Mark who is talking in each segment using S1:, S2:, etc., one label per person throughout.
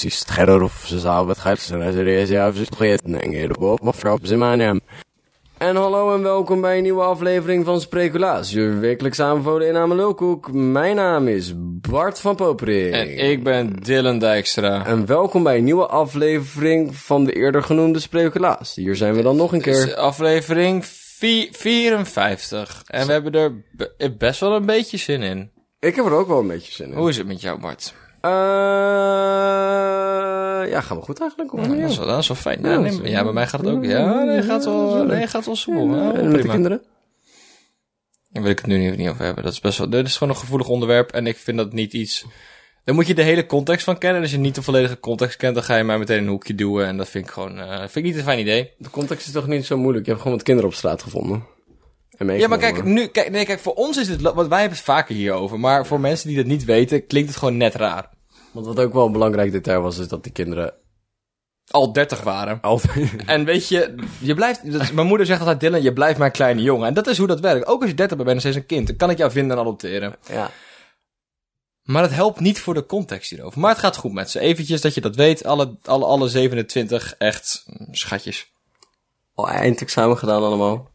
S1: ሲስተረሩ ፍስሳው በትgaat serieus ja vergeten en je op mevrouw Zimanium. En hallo en welkom bij een nieuwe aflevering van Spreculaas, je wekelijks aanbevolen inname lulkoek. Mijn naam is Bart van Popering.
S2: En ik ben Dylan Dijkstra.
S1: En welkom bij een nieuwe aflevering van de eerder genoemde Spreculaas. Hier zijn we dan nog een
S2: Dit
S1: keer.
S2: is aflevering vi- 54. En we hebben er be- eh, best wel een beetje zin in.
S1: Ik heb er ook wel een beetje zin in.
S2: eh, Hoe is het met jou, Bart?
S1: Eh, ja, gaan we goed eigenlijk? Of niet?
S2: Dat is wel, dat is wel fijn.
S1: Ja,
S2: Ja, nee,
S1: dat is-
S2: ja, bij mij gaat het ook. Ja, nee, gaat
S1: dat
S2: wel,
S1: is wel
S2: nee,
S1: leuk.
S2: gaat wel soepel.
S1: en
S2: Ja,
S1: met de
S2: prima.
S1: kinderen?
S2: Daar wil ik het nu even niet over hebben. Dat is best wel, dit is gewoon een gevoelig onderwerp en ik vind dat niet iets... Daar moet je de hele context van kennen. En als je niet de volledige context kent, dan ga je mij meteen een hoekje duwen. En dat vind ik gewoon, eh, vind ik niet een fijn idee.
S1: De context is toch niet zo moeilijk? Je hebt gewoon wat kinderen op straat gevonden. En
S2: Ja,
S1: meegenomen.
S2: maar kijk, nu, kijk, nee, kijk, voor ons is het, want wij hebben het vaker hierover. Maar voor mensen die dat niet weten, klinkt het gewoon net raar.
S1: Want wat ook wel een belangrijk detail was, is dat die kinderen
S2: Al 30 waren.
S1: altijd...
S2: En weet je, je blijft, dat is- mijn moeder zegt altijd, Dylan, je blijft mijn kleine jongen. En dat is hoe dat werkt. Ook als je 30 bent, ben je nog steeds een kind. Dan kan ik jou vinden en adopteren.
S1: ja.
S2: Maar dat helpt niet voor de context hierover. Maar het gaat goed met ze. Eventjes dat je dat weet. Alle, alle, alle 27 echt mm, schatjes.
S1: Al eindexamen gedaan allemaal.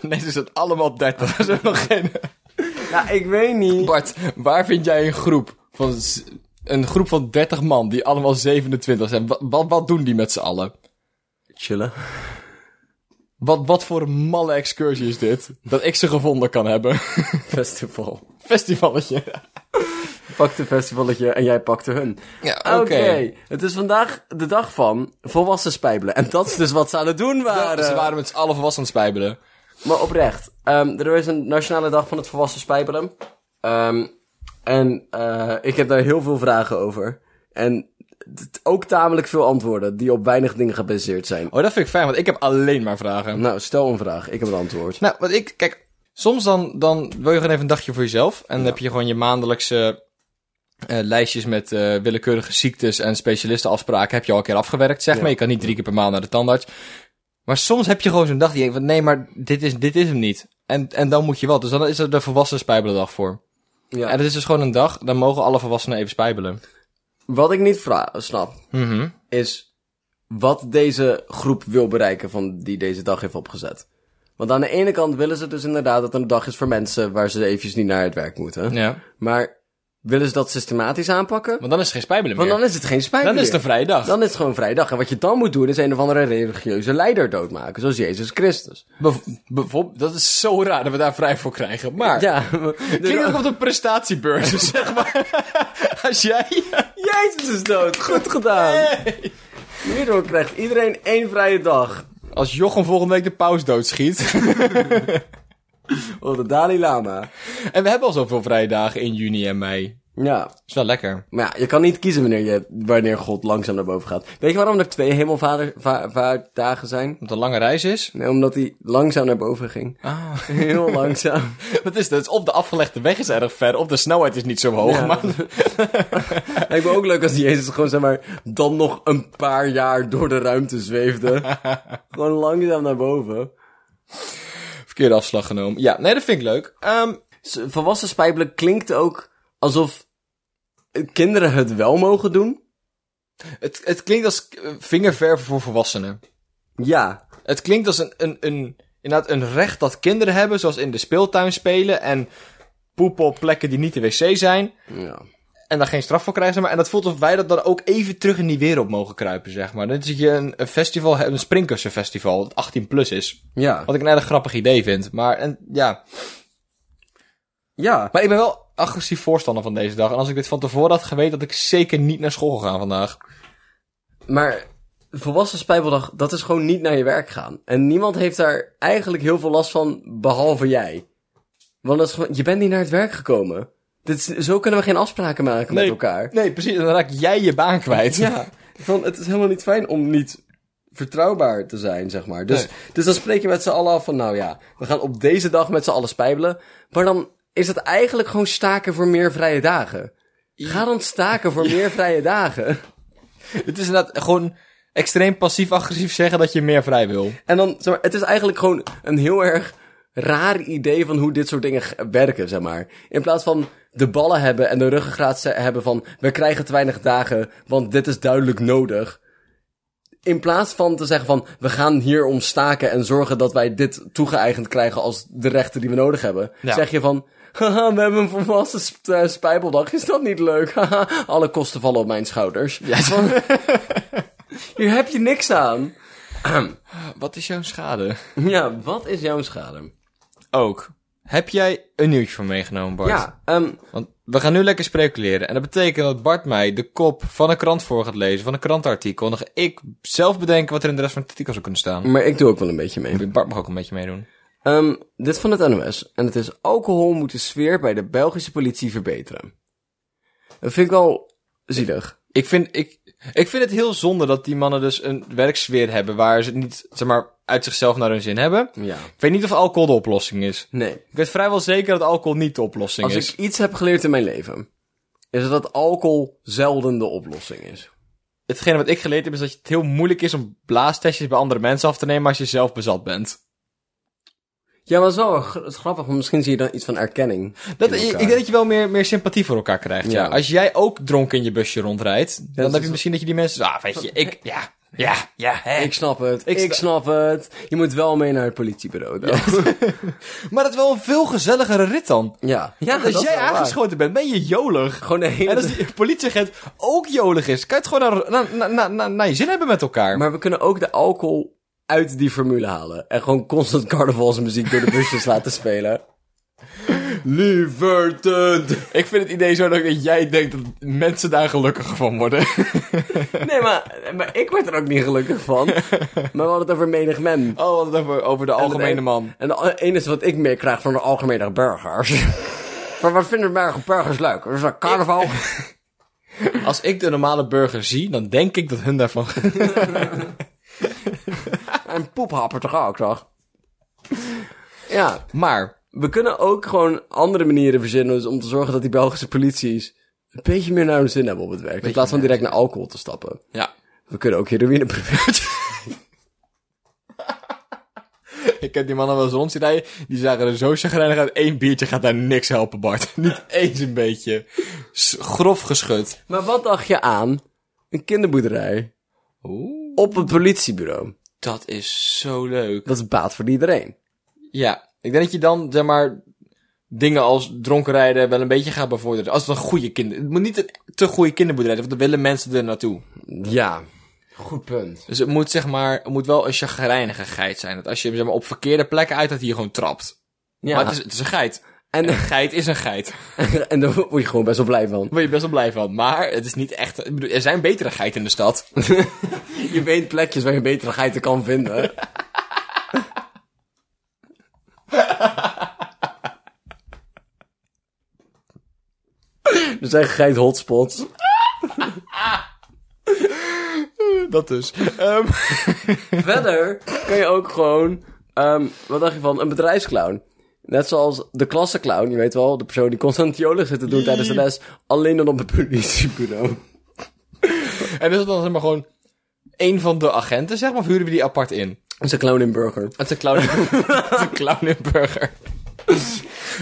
S2: Nee, ze zijn allemaal 30. Er zijn nog geen...
S1: Ja, Nou, ik weet niet.
S2: Bart, waar vind jij een groep van... z- Een groep van 30 man die allemaal 27 zijn. Wat, wat, wat doen die met z'n allen?
S1: Chillen.
S2: Wat, wat voor een malle excursie is dit? Dat ik ze gevonden kan hebben.
S1: Festival.
S2: Festivalletje.
S1: Pakte festivalletje en jij pakte hun.
S2: Ja,
S1: Oké. Het is vandaag de dag van volwassen spijbelen. En dat is dus wat ze aan het doen waren.
S2: Ze waren met z'n allen volwassen aan het spijbelen.
S1: Maar oprecht, ehm, er is een nationale dag van het volwassen spijbelen. Ehm, en eh, ik heb daar heel veel vragen over. En t- ook tamelijk veel antwoorden die op weinig dingen gebaseerd zijn.
S2: Oh, dat vind ik fijn, want ik heb alleen maar vragen.
S1: Nou, stel een vraag. Ik heb een antwoord.
S2: Nou, want ik, kijk, soms dan, dan wil je gewoon even een dagje voor jezelf. En dan heb je gewoon je maandelijkse eh, lijstjes met eh, willekeurige ziektes en specialistenafspraken. Heb je al een keer afgewerkt, zeg
S1: Ja.
S2: maar. Je kan niet drie keer per maand naar de tandarts. Maar soms heb je gewoon zo'n dag die je denkt van, nee, maar dit is, dit is hem niet. En, en dan moet je wel. Dus dan is er de volwassen spijbelendag voor.
S1: Ja.
S2: En dat is dus gewoon een dag, dan mogen alle volwassenen even spijbelen.
S1: Wat ik niet vra- snap,
S2: Mhm.
S1: is wat deze groep wil bereiken van die deze dag heeft opgezet. Want aan de ene kant willen ze dus inderdaad dat er een dag is voor mensen waar ze eventjes niet naar het werk moeten.
S2: Ja.
S1: Maar willen ze dat systematisch aanpakken?
S2: Want dan is het geen spijbelen meer.
S1: Want
S2: Dan
S1: dan is het geen spijt
S2: is, het een vrije dag.
S1: Dan is het gewoon vrijdag. En wat je dan moet doen is een of andere religieuze leider doodmaken, zoals Jezus Christus.
S2: Bev- bevo- dat is zo raar dat we daar vrij voor krijgen. Maar...
S1: Ja,
S2: Klinkt ook op de prestatiebeurs, zeg maar. Als jij...
S1: Jezus is dood. Goed gedaan. Hierdoor krijgt iedereen één vrije dag.
S2: Als Jochem volgende week de paus doodschiet.
S1: Oh, de Dalai Lama.
S2: En we hebben al zoveel vrije dagen in juni en mei.
S1: Ja,
S2: Is wel lekker.
S1: maar ja, je kan niet kiezen wanneer, je, wanneer God langzaam naar boven gaat. Weet je waarom er twee hemelvaartdagen zijn?
S2: Omdat het een lange reis is.
S1: Nee, omdat hij langzaam naar boven ging.
S2: Ah.
S1: Heel langzaam.
S2: Dat is dus op de afgelegde weg is erg ver. Op de snelheid is niet zo hoog.
S1: Ja.
S2: Maar
S1: Lijkt me ook leuk als Jezus gewoon, zeg maar, dan nog een paar jaar door de ruimte zweefde. gewoon langzaam naar boven.
S2: verkeerde afslag genomen. Ja, nee, dat vind ik leuk. Ehm,
S1: S- Volwassen spijbelen klinkt ook alsof kinderen het wel mogen doen.
S2: het, het klinkt als eh, vingerverven voor volwassenen.
S1: Ja.
S2: Het klinkt als een, een, een, inderdaad een recht dat kinderen hebben. Zoals in de speeltuin spelen. En poepen op plekken die niet de wc zijn.
S1: Ja.
S2: En daar geen straf voor krijgen, zeg maar. En dat voelt alsof wij dat dan ook even terug in die wereld mogen kruipen, zeg maar. Dat je een, een festival hebt, een springkussenfestival, dat 18 plus is.
S1: Ja.
S2: Wat ik een erg grappig idee vind. Maar, en, ja.
S1: Ja.
S2: maar ik ben wel agressief voorstander van deze dag. En als ik dit van tevoren had geweten, had ik zeker niet naar school gegaan vandaag.
S1: Maar volwassen spijbeldag, dat is gewoon niet naar je werk gaan. En niemand heeft daar eigenlijk heel veel last van, behalve jij. Want dat is gewoon, je bent niet naar het werk gekomen. Dit is, zo kunnen we geen afspraken maken met elkaar.
S2: Nee, precies. En dan raak jij je baan kwijt.
S1: Ja, van, het is helemaal niet fijn om niet vertrouwbaar te zijn, zeg maar. Dus,
S2: Nee.
S1: dus dan spreek je met z'n allen af van, nou ja, we gaan op deze dag met z'n allen spijbelen. Maar dan is het eigenlijk gewoon staken voor meer vrije dagen. Ga dan staken voor meer vrije dagen.
S2: Het is inderdaad gewoon extreem passief-agressief zeggen dat je meer vrij wil.
S1: En dan, zeg maar, het is eigenlijk gewoon een heel erg raar idee van hoe dit soort dingen g- werken, zeg maar. In plaats van, de ballen hebben en de ruggengraat ze- hebben van... we krijgen te weinig dagen, want dit is duidelijk nodig. In plaats van te zeggen van... we gaan hier om staken en zorgen dat wij dit toegeëigend krijgen... als de rechten die we nodig hebben.
S2: Ja.
S1: Zeg je van... Haha, we hebben een volwassen sp- eh, spijbeldag. Is dat niet leuk? Haha, alle kosten vallen op mijn schouders. Van- Hier heb je niks aan.
S2: Wat is jouw schade?
S1: Ja, wat is jouw schade?
S2: Ook. Heb jij een nieuwtje van meegenomen, Bart?
S1: Ja, ehm
S2: Want we gaan nu lekker speculeren. En dat betekent dat Bart mij de kop van een krant voor gaat lezen, van een krantartikel. En dan ga ik zelf bedenken wat er in de rest van het artikel zou kunnen staan.
S1: maar ik doe ook wel een beetje mee.
S2: Bart mag ook een beetje meedoen.
S1: Ehm, dit van het NOS. En het is alcohol moet de sfeer bij de Belgische politie verbeteren. Dat vind ik wel zielig.
S2: Ik vind, ik, ik vind het heel zonde dat die mannen dus een werksfeer hebben waar ze het niet, zeg maar, uit zichzelf naar hun zin hebben.
S1: Ja.
S2: Ik weet niet of alcohol de oplossing is.
S1: Nee.
S2: Ik weet vrijwel zeker dat alcohol niet de oplossing
S1: Als
S2: is.
S1: ik iets heb geleerd in mijn leven, is het dat alcohol zelden de oplossing is.
S2: Hetgene wat ik geleerd heb is dat het heel moeilijk is om blaastestjes bij andere mensen af te nemen als je zelf bezat bent.
S1: Ja, maar het is wel gra- het is grappig, want misschien zie je dan iets van erkenning.
S2: Dat,
S1: in
S2: ik ik
S1: elkaar.
S2: denk dat je wel meer, meer sympathie voor elkaar krijgt. Ja.
S1: Ja.
S2: Als jij ook dronken in je busje rondrijdt, dan
S1: dat
S2: heb
S1: is-
S2: je misschien dat je die mensen. Ah, weet je, ik. Ja, ja, ja. Hè.
S1: Ik snap het, ik,
S2: sta-
S1: snap het. Je moet wel mee naar het politiebureau. dan.
S2: Maar dat is wel een veel gezelligere rit dan.
S1: Ja. dus ja,
S2: Want als
S1: dat is
S2: jij
S1: wel waar.
S2: aangeschoten bent, ben je jolig.
S1: Gewoon de hele
S2: En als die politieagent ook jolig is, kan je het gewoon naar, naar, naar, naar, naar je zin hebben met elkaar.
S1: Maar we kunnen ook de alcohol uit die formule halen. En gewoon constant carnavalsmuziek door de busjes laten spelen. Lieverton.
S2: Ik vind het idee zo leuk dat jij denkt dat mensen daar gelukkiger van worden.
S1: Nee, maar, maar ik word er ook niet gelukkig van. Maar we hadden het over menig men.
S2: Oh, wat over, over de algemene man.
S1: e- En het ene is wat ik meer krijg van de algemene burgers. Maar wat vinden burger- burgers leuk? Is dat carnaval?
S2: Als ik de normale burger zie, dan denk ik dat hun daarvan...
S1: En poephapper toch ook, toch? Ja.
S2: maar,
S1: We kunnen ook gewoon andere manieren verzinnen om te zorgen dat die Belgische polities een beetje meer naar hun zin hebben op het werk. In plaats van direct naar alcohol te stappen.
S2: ja.
S1: We kunnen ook heroïne proberen.
S2: Ik heb die mannen wel eens rond zien rijden. Die zagen er zo chagrijnig uit. Eén biertje gaat daar niks helpen, Bart. Niet eens een beetje. S- grof geschud.
S1: Maar wat dacht je aan? Een kinderboerderij.
S2: Oeh.
S1: Op het politiebureau.
S2: Dat is zo leuk.
S1: Dat is baat voor iedereen.
S2: Ja, ik denk dat je dan, zeg maar, dingen als dronken rijden wel een beetje gaat bevorderen. Als het een goede kinder... Het moet niet een te goede kinderboerderij zijn, want dan willen mensen er naartoe.
S1: Ja. Goed punt.
S2: Dus het moet, zeg maar, het moet wel een chagrijnige geit zijn. Dat als je hem zeg maar, op verkeerde plekken uit, dat hij je gewoon trapt.
S1: Ja.
S2: Maar het is, het is een geit. En een geit is een geit.
S1: en daar word je gewoon best wel blij van.
S2: Daar ben je best wel blij van. Maar het is niet echt... Ik bedoel, er zijn betere geiten in de stad.
S1: Je weet plekjes waar je betere geiten kan vinden. Er zijn geit hotspots.
S2: Dat dus. Ehm,
S1: Verder kan je ook gewoon, ehm, wat dacht je van, een bedrijfsclown. Net zoals de klassenclown, je weet wel, de persoon die constant jolig zit te doen tijdens de les, alleen dan op het politiebureau.
S2: en is het dan zeg maar gewoon... Een van de agenten, zeg maar, of huren we die apart in?
S1: Dat is een clown in burger.
S2: Het is een clown in, het is een clown in burger.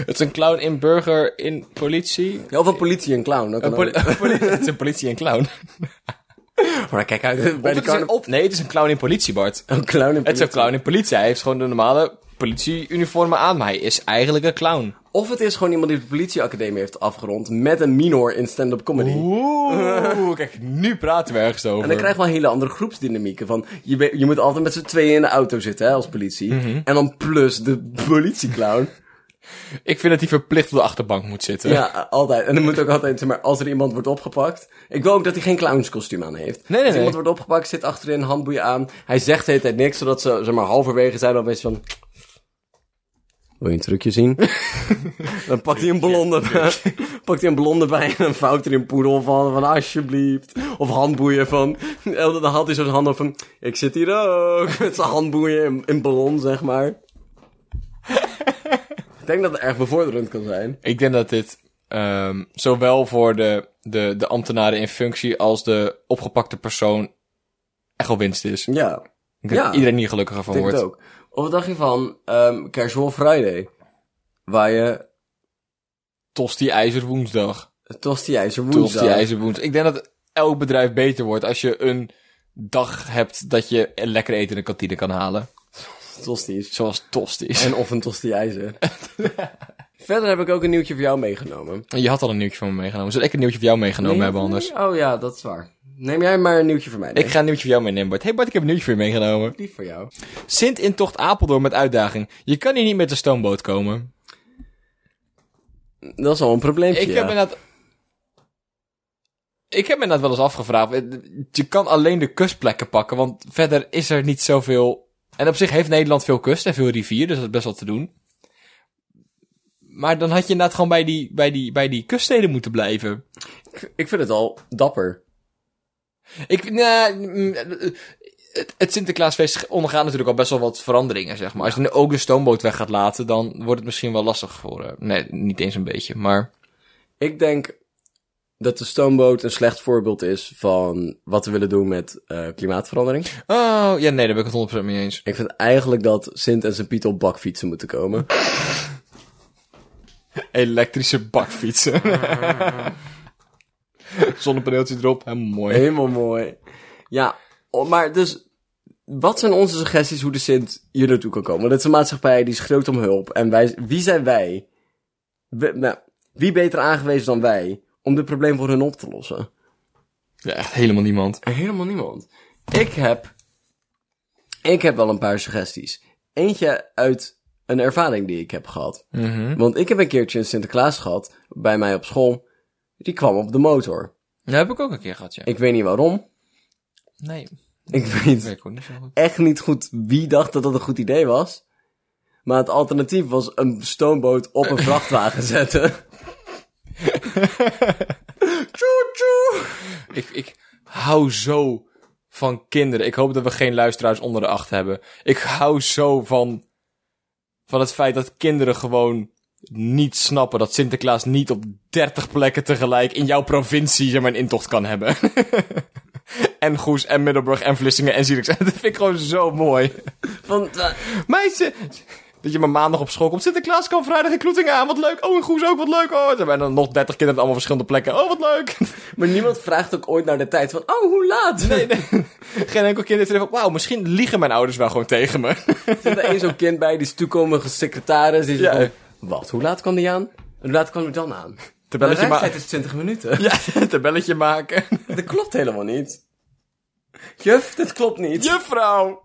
S2: het is een clown in burger in politie.
S1: Ja, of een politie en clown. Dat kan
S2: Poli-
S1: ook.
S2: poli- het is een politie en clown.
S1: Maar kijk uit, bij
S2: Het
S1: de
S2: is een
S1: carnaval.
S2: op nee, het is een clown in politie, Bart.
S1: Een clown in
S2: Het is
S1: politie.
S2: een clown in politie. Hij heeft gewoon de normale politieuniformen aan, maar hij is eigenlijk een clown.
S1: Of het is gewoon iemand die de politieacademie heeft afgerond met een minor in stand-up comedy.
S2: Oeh, kijk, nu praten we ergens over.
S1: En dan krijg je wel hele andere groepsdynamieken. Van, je, be- je moet altijd met z'n tweeën in de auto zitten hè, als politie. En dan plus de politieclown.
S2: Ik vind dat hij verplicht op de achterbank moet zitten.
S1: ja, altijd. En dan moet ook altijd, zeg maar, als er iemand wordt opgepakt. Ik wil ook dat hij geen clownskostuum aan heeft.
S2: nee,
S1: Als
S2: nee.
S1: iemand wordt opgepakt, zit achterin, handboeien aan. Hij zegt de hele tijd niks, zodat ze, zeg maar, halverwege zijn. Dan weet je van... Wil je een trucje zien? dan pakt hij een blonde bij, pakt hij een blonde bij en vouwt er een poedel van, van alsjeblieft. Of handboeien van, en dan had hij zo'n hand op van, ik zit hier ook. Met zijn handboeien in, in ballon, zeg maar. ik denk dat het erg bevorderend kan zijn.
S2: Ik denk dat dit ehm, zowel voor de, de, de ambtenaren in functie als de opgepakte persoon echt wel winst is. Ik
S1: Ja,
S2: denk dat
S1: Ja.
S2: iedereen hier gelukkiger
S1: ik
S2: van
S1: denk
S2: wordt.
S1: het ook. Of wat dacht je van ehm Casual Friday? Waar je
S2: Tosti IJzer Woensdag.
S1: Tosti IJzer
S2: Tosti
S1: Woensdag.
S2: IJzer Woensdag. Ik denk dat elk bedrijf beter wordt als je een dag hebt dat je lekker eten in de kantine kan halen.
S1: Tosti's.
S2: Zoals Tosti's.
S1: En of een Tosti IJzer. Verder heb ik ook een nieuwtje voor jou meegenomen.
S2: En je had al een nieuwtje van me meegenomen. Zal ik een nieuwtje voor jou meegenomen
S1: Nee,
S2: hebben
S1: nee.
S2: anders?
S1: Oh ja, dat is waar. Neem jij maar een nieuwtje voor mij.
S2: Ik ga een nieuwtje voor jou meenemen, Bart. Hey Bart, ik heb een nieuwtje voor je meegenomen.
S1: lief voor jou.
S2: Sint in tocht Apeldoorn met uitdaging. Je kan hier niet met de stoomboot komen.
S1: Dat is al een probleempje.
S2: Ik heb me inderdaad... Ik heb me inderdaad wel eens afgevraagd. Het- Je kan alleen de kustplekken pakken, want verder is er niet zoveel... En op zich heeft Nederland veel kust en veel rivier, dus dat is best wel te doen. Maar dan had je inderdaad gewoon bij die, bij die, bij die kuststeden moeten blijven.
S1: Ik- ik vind het al dapper.
S2: Ik, nou, mm, het, het Sinterklaasfeest ondergaat natuurlijk al best wel wat veranderingen, zeg maar. Als je nu ook de stoomboot weg gaat laten, dan wordt het misschien wel lastig voor... eh, nee, niet eens een beetje, maar...
S1: Ik denk dat de stoomboot een slecht voorbeeld is van wat we willen doen met eh, klimaatverandering.
S2: Oh, ja, nee, daar ben ik het 100% mee eens.
S1: Ik vind eigenlijk dat Sint en Sint Piet op bakfietsen moeten komen.
S2: Elektrische bakfietsen. Zonnepaneeltje erop, helemaal mooi.
S1: Helemaal mooi. Ja, oh, maar dus... Wat zijn onze suggesties hoe de Sint hier naartoe kan komen? Want het is een maatschappij die schreeuwt om hulp. En wij, wie zijn wij? We- nou, wie beter aangewezen dan wij om dit probleem voor hun op te lossen?
S2: Ja, echt helemaal niemand.
S1: Helemaal niemand. Ik heb... Ik heb wel een paar suggesties. Eentje uit een ervaring die ik heb gehad.
S2: Mhm.
S1: Want ik heb een keertje een Sinterklaas gehad bij mij op school. Die kwam op de motor.
S2: Dat heb ik ook een keer gehad, ja.
S1: Ik weet niet waarom.
S2: Nee,
S1: Ik weet
S2: weet ik ook niet zo goed.
S1: echt niet goed wie dacht dat dat een goed idee was. Maar het alternatief was een stoomboot op een vrachtwagen zetten. Tjoe, tjoe.
S2: Ik, ik hou zo van kinderen. Ik hoop dat we geen luisteraars onder de acht hebben. Ik hou zo van, van het feit dat kinderen gewoon niet snappen dat Sinterklaas niet op 30 plekken tegelijk in jouw provincie zeg maar, een intocht kan hebben. en Goes en Middelburg en Vlissingen en Zierikzee. Dat vind ik gewoon zo mooi.
S1: Want, eh,
S2: Meisje! Dat je maar maandag op school komt. Sinterklaas kan vrijdag in Kloetingen aan. Wat leuk. Oh, en Goes ook. Wat leuk. Oh, en dan nog 30 kinderen uit allemaal verschillende plekken. Oh, wat leuk.
S1: maar niemand vraagt ook ooit naar de tijd van, oh, hoe laat? Nee, nee.
S2: Geen enkel kind heeft er van, wauw, misschien liegen mijn ouders wel gewoon tegen me.
S1: Er zit er eens zo'n kind bij, die is toekomende secretaris. Die
S2: Ja.
S1: zegt van, wat, hoe laat kwam die aan? En hoe laat kwam die dan aan? De
S2: Tabelletje,
S1: reistijd
S2: ma-
S1: is 20 minuten.
S2: ja, tabelletje maken.
S1: Dat klopt helemaal niet. Juf, dit klopt niet.
S2: Juffrouw!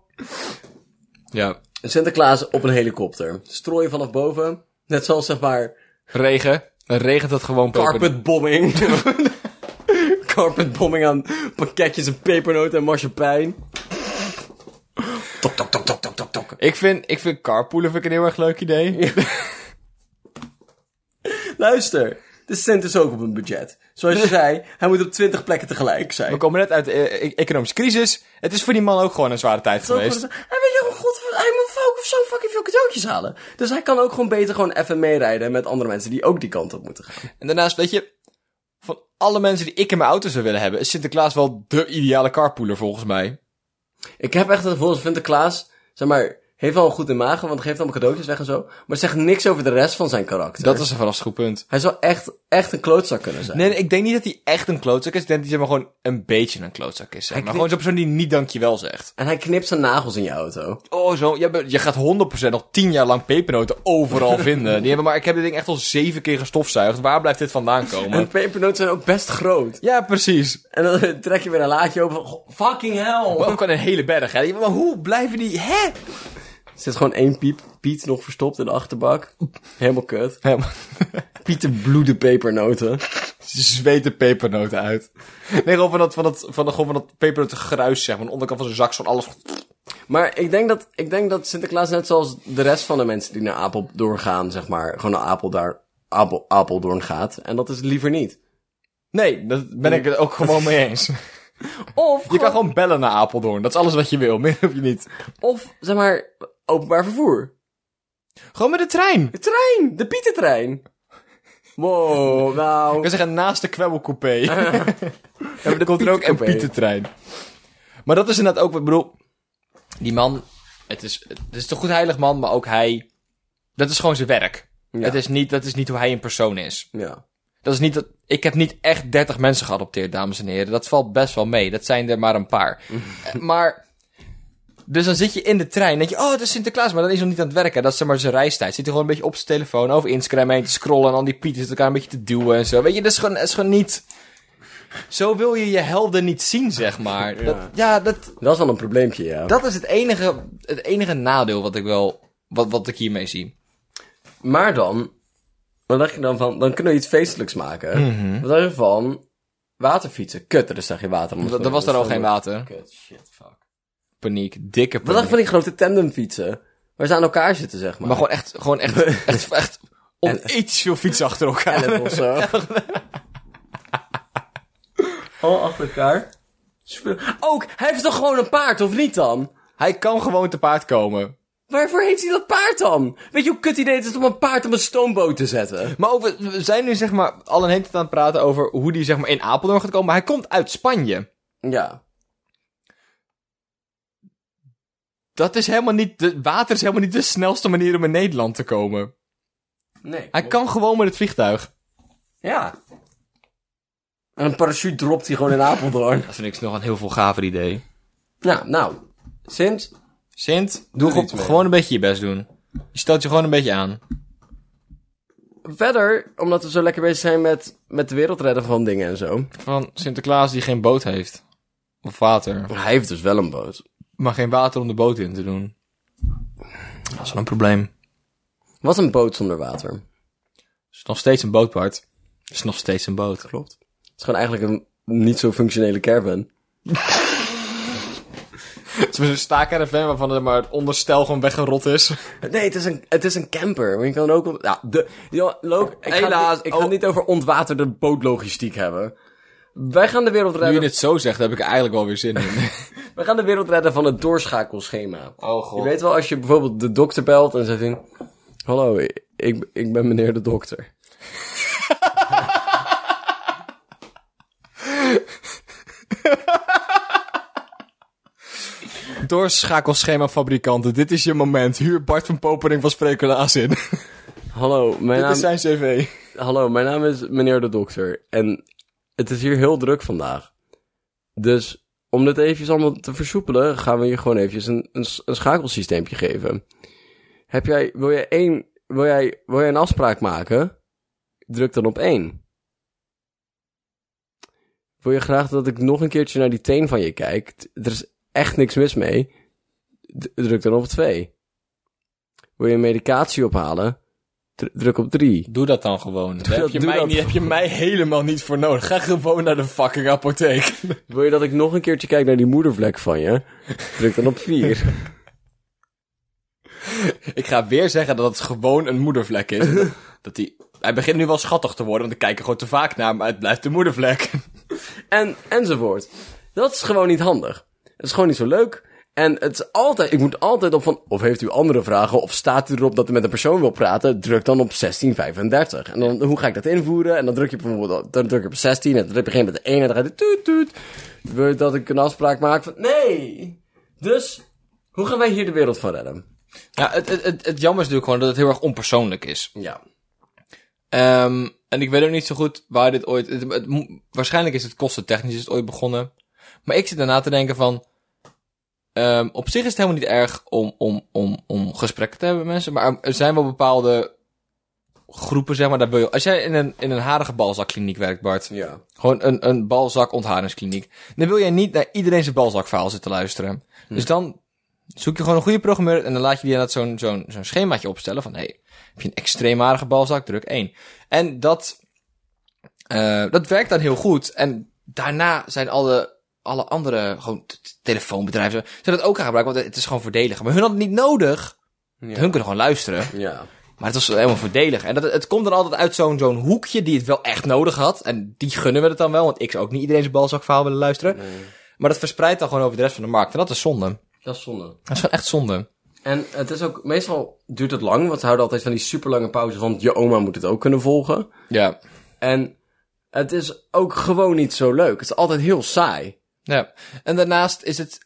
S2: Ja,
S1: Sinterklaas op een helikopter. Strooien vanaf boven. Net zoals zeg maar
S2: regen. Dan regent het gewoon
S1: carpetbombing. carpetbombing aan pakketjes en pepernoten en marsepein. Tok, tok, tok, tok, tok, tok, tok.
S2: Ik vind, ik vind carpoolen vind ik een heel erg leuk idee.
S1: Luister, de cent is ook op een budget. Zoals je zei, hij moet op 20 plekken tegelijk zijn.
S2: We komen net uit de eh, economische crisis. Het is voor die man ook gewoon een zware tijd
S1: Zo
S2: geweest.
S1: gewoon zo- Hij weet gewoon, god, hij moet ook zo fucking veel cadeautjes halen. Dus hij kan ook gewoon beter gewoon even meerijden met andere mensen die ook die kant op moeten gaan.
S2: En daarnaast, weet je, van alle mensen die ik in mijn auto zou willen hebben, is Sinterklaas wel de ideale carpooler volgens mij.
S1: Ik heb echt het gevoel dat Sinterklaas, zeg maar, heeft wel een goed in magen, want geeft allemaal cadeautjes weg en zo. Maar zegt niks over de rest van zijn karakter.
S2: Dat is een verrassend goed punt.
S1: Hij zou echt, echt een klootzak kunnen zijn.
S2: Nee, nee, ik denk niet dat hij echt een klootzak is. Ik denk dat hij zeg maar, gewoon een beetje een klootzak is. Zeg maar
S1: knikt-
S2: gewoon zo'n persoon die niet dankjewel zegt.
S1: En hij knipt zijn nagels in je auto.
S2: Oh, zo. Je, bent- je gaat 100% nog 10 jaar lang pepernoten overal vinden. Die hebben maar, ik heb dit ding echt al zeven keer gestofzuigd. Waar blijft dit vandaan
S1: En
S2: komen?
S1: pepernoten zijn ook best groot.
S2: Ja, precies.
S1: En dan trek je weer een laadje open. Goh, Fucking hell!
S2: Maar ook aan een hele berg, hè. Maar hoe blijven die, hè?
S1: Er zit gewoon één piep, Piet nog verstopt in de achterbak. Helemaal kut.
S2: Helemaal.
S1: Pieter bloeden pepernoten.
S2: Ze zweten pepernoten uit. Nee, gewoon van dat, van dat, van dat, gewoon van dat pepernoten gruis, zeg maar. Aan de onderkant van zijn zak, zo'n alles.
S1: Maar ik denk, dat, ik denk dat Sinterklaas net zoals de rest van de mensen die naar Apeldoorn gaan, zeg maar, gewoon naar Apeldoorn, Apel, Apeldoorn gaat. En dat is liever niet.
S2: Nee, daar ben ik het ook gewoon mee eens.
S1: Of,
S2: Je kan gewoon bellen naar Apeldoorn. Dat is alles wat je wil. Meer hoef je niet.
S1: of zeg maar, openbaar vervoer.
S2: Gewoon met de trein.
S1: De trein, de Pietertrein. Wow, nou.
S2: Ik wil zeggen, naast de kwebbelcoupé. komt er ook een
S1: Pietercoupé.
S2: Pietertrein. Maar dat is inderdaad ook, ik bedoel, die man, het is, het is een goed heilig man, maar ook hij, dat is gewoon zijn werk.
S1: Ja.
S2: Het is niet, dat is niet hoe hij in persoon is.
S1: Ja.
S2: Dat is niet dat, ik heb niet echt 30 mensen geadopteerd, dames en heren. Dat valt best wel mee. Dat zijn er maar een paar. Eh, maar. Dus dan zit je in de trein en denk je, oh, het is Sinterklaas, maar dan is hij nog niet aan het werken. Dat is zeg maar zijn reistijd. Zit hij gewoon een beetje op zijn telefoon over Instagram heen te scrollen en al die pieters elkaar een beetje te duwen en zo. Weet je, dat is gewoon, dat is gewoon niet... Zo wil je je helden niet zien, zeg maar. Dat, ja, dat,
S1: Dat is wel een probleempje, ja.
S2: dat is het enige, het enige nadeel wat ik wel, wat, wat ik hiermee zie.
S1: Maar dan, wat dacht je dan van, dan kunnen we iets feestelijks maken. Wat dacht je van, waterfietsen? Kut, er is daar geen water.
S2: Dat, er was daar al geen water.
S1: Kut, shit, fuck.
S2: Paniek, dikke
S1: Wat
S2: paniek.
S1: dacht je van die grote tandemfietsen? Waar ze aan elkaar zitten, zeg maar.
S2: Maar gewoon echt, gewoon echt, echt, echt onethisch veel fietsen achter elkaar.
S1: of zo. Al achter elkaar. Super- Ook, hij heeft toch gewoon een paard, of niet dan?
S2: Hij kan gewoon te paard komen.
S1: Waarvoor heeft hij dat paard dan? Weet je hoe kut idee het is om een paard op een stoomboot te zetten?
S2: Maar ook, we- we zijn nu zeg maar al een hele tijd aan het praten over hoe die zeg maar in Apeldoorn gaat komen. Maar hij komt uit Spanje.
S1: Ja.
S2: Dat is helemaal niet, de, water is helemaal niet de snelste manier om in Nederland te komen.
S1: Nee.
S2: Hij kan gewoon met het vliegtuig.
S1: Ja. En een parachute dropt hij gewoon in Apeldoorn.
S2: Dat vind ik nog een heel veel gaver idee.
S1: Ja, nou. Sinds?
S2: Sint, doe,
S1: er
S2: gewoon-
S1: iets mee.
S2: gewoon een beetje je best doen. Je stelt je gewoon een beetje aan.
S1: Verder, omdat we zo lekker bezig zijn met, met de wereld redden van dingen en zo.
S2: Van Sinterklaas die geen boot heeft. Of water.
S1: Hij heeft dus wel een boot.
S2: Maar geen water om de boot in te doen. Dat is wel een probleem.
S1: Wat een boot zonder water.
S2: Het is nog steeds een boot, Bart. Het is nog steeds een boot.
S1: Klopt. Het is gewoon eigenlijk een niet zo functionele caravan.
S2: Het is een staakerven waarvan er maar het onderstel gewoon weggerot is.
S1: Nee, het is een, het is een camper. Maar je kan ook... op- Ja, de, joh, Look, ik ga, het
S2: Helaas,
S1: niet- ik ga
S2: oh.
S1: het niet over ontwaterde bootlogistiek hebben. Wij gaan de wereld
S2: Nu je
S1: redden,
S2: dit zo zegt, heb ik er eigenlijk wel weer zin in.
S1: wij gaan de wereld redden van het doorschakelschema.
S2: Oh
S1: Je weet wel, als je bijvoorbeeld de dokter belt en zegt in... Hallo, ik, ik ben meneer de dokter.
S2: Doorschakelschema fabrikanten, dit is je moment. Huur Bart van Popering van Sprekelaas in.
S1: Hallo mijn,
S2: dit
S1: naam,
S2: is zijn cv.
S1: hallo, mijn naam is meneer de dokter. En het is hier heel druk vandaag. Dus om dit eventjes allemaal te versoepelen... gaan we je gewoon eventjes een, een, s- een schakelsysteempje geven. Heb jij, wil, jij één, wil, jij, wil jij een afspraak maken? Druk dan op één. Wil je graag dat ik nog een keertje naar die teen van je kijk? T- Er is echt niks mis mee. D- druk dan op twee. Wil je medicatie ophalen? Dr- druk op drie.
S2: Doe dat dan gewoon. Daar heb, je
S1: doe
S2: mij,
S1: dat.
S2: niet, heb je mij helemaal niet voor nodig. Ga gewoon naar de fucking apotheek.
S1: Wil je dat ik nog een keertje kijk naar die moedervlek van je? Druk dan op vier.
S2: Ik ga weer zeggen dat het gewoon een moedervlek is. dat die... Hij begint nu wel schattig te worden, want ik kijk er gewoon te vaak naar, maar het blijft de moedervlek.
S1: En, enzovoort. Dat is gewoon niet handig. Het is gewoon niet zo leuk. En het is altijd, ik moet altijd op van, of heeft u andere vragen, of staat u erop dat u met een persoon wil praten, druk dan op 1635. En dan, hoe ga ik dat invoeren? En dan druk je bijvoorbeeld, op- dan druk je op 16, en dan heb je geen met de 1, en dan gaat het tuut tuut. Wil je dat ik een afspraak maak van, nee! Dus, hoe gaan wij hier de wereld van redden?
S2: Ja, het, het, het, het jammer is natuurlijk gewoon dat het heel erg onpersoonlijk is.
S1: Ja.
S2: Ehm, en ik weet ook niet zo goed waar dit ooit... Het, het mo- waarschijnlijk is het kostentechnisch is het ooit begonnen. Maar ik zit daarna te denken van... ehm, op zich is het helemaal niet erg om, om, om, om gesprekken te hebben met mensen. Maar er zijn wel bepaalde groepen, zeg maar. Daar wil je, als jij in een, in een harige balzakkliniek werkt, Bart.
S1: Ja.
S2: Gewoon een, een balzak-ontharingskliniek. Dan wil jij niet naar iedereen zijn balzakverhaal zitten luisteren. Dus dan zoek je gewoon een goede programmeur en dan laat je die inderdaad zo'n zo'n zo'n schemaatje opstellen van... hey, heb je een extreem aardige balzak, druk 1. En dat, eh, dat werkt dan heel goed. En daarna zijn alle, alle andere gewoon t- t- telefoonbedrijven... zijn dat ook gaan gebruiken, want het is gewoon voordelig. Maar hun hadden het niet nodig. Hun kunnen gewoon luisteren.
S1: Ja.
S2: Maar het was helemaal voordelig. En dat, het komt dan altijd uit zo'n zo'n hoekje die het wel echt nodig had. En die gunnen we het dan wel, want ik zou ook niet iedereen zijn balzakverhaal willen luisteren. Maar dat verspreidt dan gewoon over de rest van de markt. En dat is zonde.
S1: Dat is zonde.
S2: Dat is gewoon echt zonde.
S1: En het is ook, meestal duurt het lang, want ze houden altijd van die superlange pauzes, want je oma moet het ook kunnen volgen.
S2: Ja.
S1: En het is ook gewoon niet zo leuk. Het is altijd heel saai.
S2: ja. En daarnaast is het,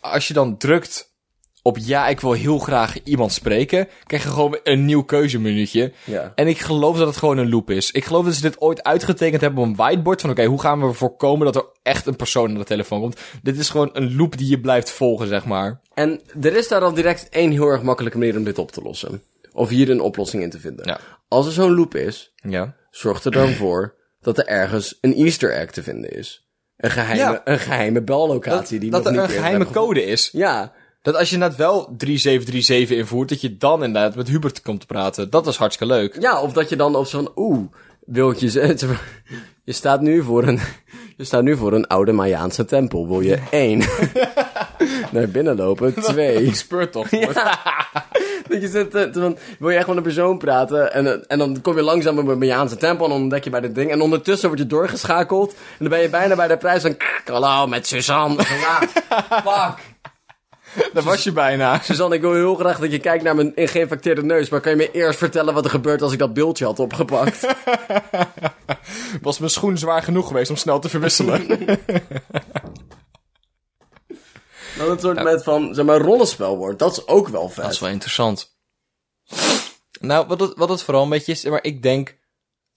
S2: als je dan drukt op ja, ik wil heel graag iemand spreken, krijg je gewoon een nieuw keuzemenuutje.
S1: Ja.
S2: En ik geloof dat het gewoon een loop is. Ik geloof dat ze dit ooit uitgetekend hebben op een whiteboard. Van oké, hoe gaan we voorkomen dat er echt een persoon aan de telefoon komt? Dit is gewoon een loop die je blijft volgen, zeg maar.
S1: En er is daar al direct één heel erg makkelijke manier om dit op te lossen. Of hier een oplossing in te vinden.
S2: Ja.
S1: Als er zo'n loop is,
S2: Ja.
S1: zorg er dan voor dat er ergens een easter egg te vinden is. Een geheime,
S2: Ja.
S1: een geheime
S2: Dat,
S1: bellocatie die
S2: dat
S1: nog niet
S2: er een
S1: eerder
S2: geheime
S1: hebben gevonden.
S2: code is.
S1: Ja,
S2: Dat als je inderdaad wel 3737 invoert, dat je dan inderdaad met Hubert komt te praten. Dat is hartstikke leuk.
S1: Ja, of dat je dan op zo'n oeh, wiltjes. Je staat nu voor een, je staat nu voor een oude Mayaanse tempel. Wil je één naar binnen lopen? Twee.
S2: Ik speur toch.
S1: Dat je zit, te- te- van, wil je echt met een persoon praten? En, eh, en dan kom je langzaam op een Mayaanse tempel en dan ontdek je bij dit ding. En ondertussen word je doorgeschakeld. En dan ben je bijna bij de prijs van. "Krik, Hallo met Suzanne. Ja, fuck.
S2: Daar was je bijna.
S1: Suzanne, ik wil heel graag dat je kijkt naar mijn geïnfecteerde neus. Maar kan je me eerst vertellen wat er gebeurt als ik dat beeldje had opgepakt?
S2: Was mijn schoen zwaar genoeg geweest om snel te verwisselen?
S1: Dat het soort met van, zeg maar, rollenspel wordt. Dat is ook wel vet.
S2: Dat is wel interessant. Nou, wat het, wat het vooral een beetje is, maar ik denk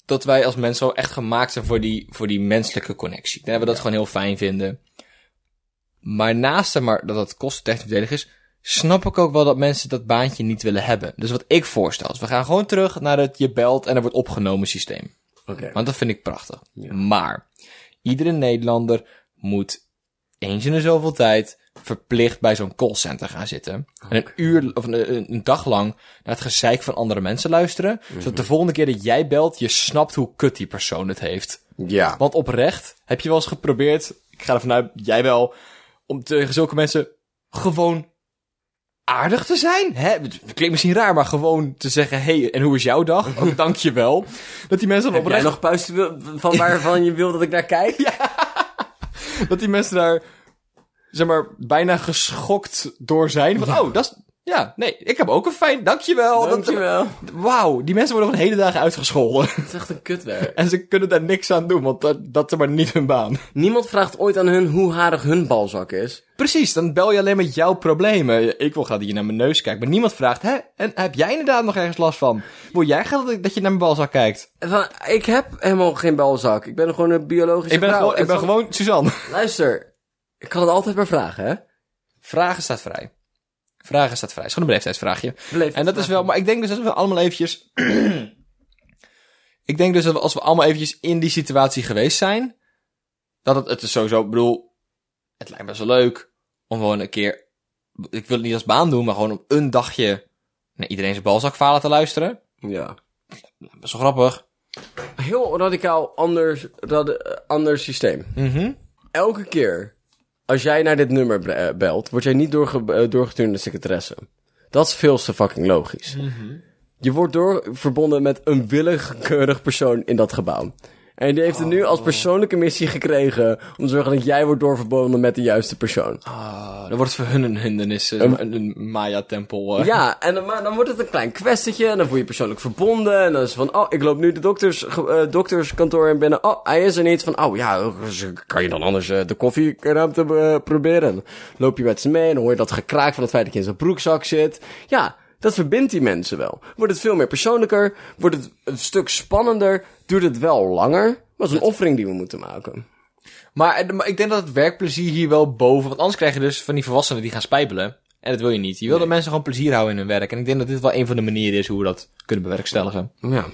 S2: dat wij als mensen wel echt gemaakt zijn voor die, voor die menselijke connectie. Dat we dat gewoon heel fijn vinden. Maar naast zeg maar dat het kostentechnisch voordelig is, snap ik ook wel dat mensen dat baantje niet willen hebben. Dus wat ik voorstel is, we gaan gewoon terug naar het je belt en er wordt opgenomen systeem.
S1: Oké.
S2: Want dat vind ik prachtig. Maar iedere Nederlander moet eens in de zoveel tijd verplicht bij zo'n callcenter gaan zitten. En een uur of een, een- een dag lang naar het gezeik van andere mensen luisteren.
S1: Mhm.
S2: Zodat de volgende keer dat jij belt, je snapt hoe kut die persoon het heeft.
S1: Ja.
S2: Want oprecht, heb je wel eens geprobeerd, ik ga ervan uit, jij wel, om tegen zulke mensen gewoon aardig te zijn? Hè? Het klinkt misschien raar, maar gewoon te zeggen, hey, en hoe is jouw dag? Oh, dankjewel. Dat die mensen dan
S1: Heb jij
S2: oprecht
S1: nog puisten wil- van waarvan je wil dat ik naar kijk?
S2: dat die mensen daar, zeg maar, bijna geschokt door zijn. Van, oh, dat is... Ja, nee, ik heb ook een fijn... Dankjewel. Dat-
S1: Dankjewel.
S2: Wauw, die mensen worden gewoon hele dagen uitgescholden.
S1: Het is echt een kutwerk.
S2: en ze kunnen daar niks aan doen, want dat, dat is maar niet hun baan.
S1: Niemand vraagt ooit aan hun hoe harig hun balzak is.
S2: Precies, dan bel je alleen met jouw problemen. Ik wil graag dat je naar mijn neus kijkt, maar niemand vraagt... Hè, en heb jij inderdaad nog ergens last van? Wil jij graag dat, ik- dat je naar mijn balzak kijkt?
S1: Van, ik heb helemaal geen balzak. Ik ben gewoon een biologische
S2: Ik ben,
S1: vrouw.
S2: gewoon, ik
S1: En
S2: ben
S1: van-
S2: gewoon Suzanne.
S1: Luister, ik kan het altijd maar vragen, hè?
S2: Vragen staat vrij. Vragen staat vrij. Het is gewoon een beleefdheidsvraagje.
S1: Beleefd-
S2: En dat is wel, maar ik denk dus dat we allemaal eventjes. ik denk dus dat we, als we allemaal eventjes in die situatie geweest zijn. Dat het, het is sowieso, ik bedoel, het lijkt me zo leuk om gewoon een keer. Ik wil het niet als baan doen, maar gewoon om een dagje naar iedereen zijn balzak falen te luisteren.
S1: Ja.
S2: Best wel grappig.
S1: Heel radicaal anders, rad- eh, anders systeem.
S2: Mhm.
S1: Elke keer als jij naar dit nummer be- eh, belt, word jij niet doorge eh, doorgestuurd naar de secretaresse. Dat is veel te fucking logisch. Je wordt door verbonden met een willekeurig persoon in dat gebouw. En die heeft het nu als persoonlijke missie gekregen om te zorgen dat jij wordt doorverbonden met de juiste persoon.
S2: Ah, dan wordt het voor hun een hindernis. eh, Een, een Maya-tempel. eh.
S1: Ja, en dan, maar dan wordt het een klein kwestietje en dan voel je je persoonlijk verbonden. En dan is het van, oh, ik loop nu de dokters, ge- eh, dokterskantoor in binnen. Oh, hij is er niet. Van, oh ja, dus kan je dan anders eh, de koffieruimte eh, proberen? Dan loop je met ze mee en dan hoor je dat gekraak van het feit dat je in zijn broekzak zit. Ja, dat verbindt die mensen wel. Wordt het veel meer persoonlijker, wordt het een stuk spannender, duurt het wel langer. Maar het is een offering die we moeten maken.
S2: Maar, eh, maar ik denk dat het werkplezier hier wel boven... Want anders krijg je dus van die volwassenen die gaan spijbelen. En dat wil je niet. Je wil dat mensen gewoon plezier houden in hun werk. En ik denk dat dit wel een van de manieren is hoe we dat kunnen bewerkstelligen.
S1: Ja.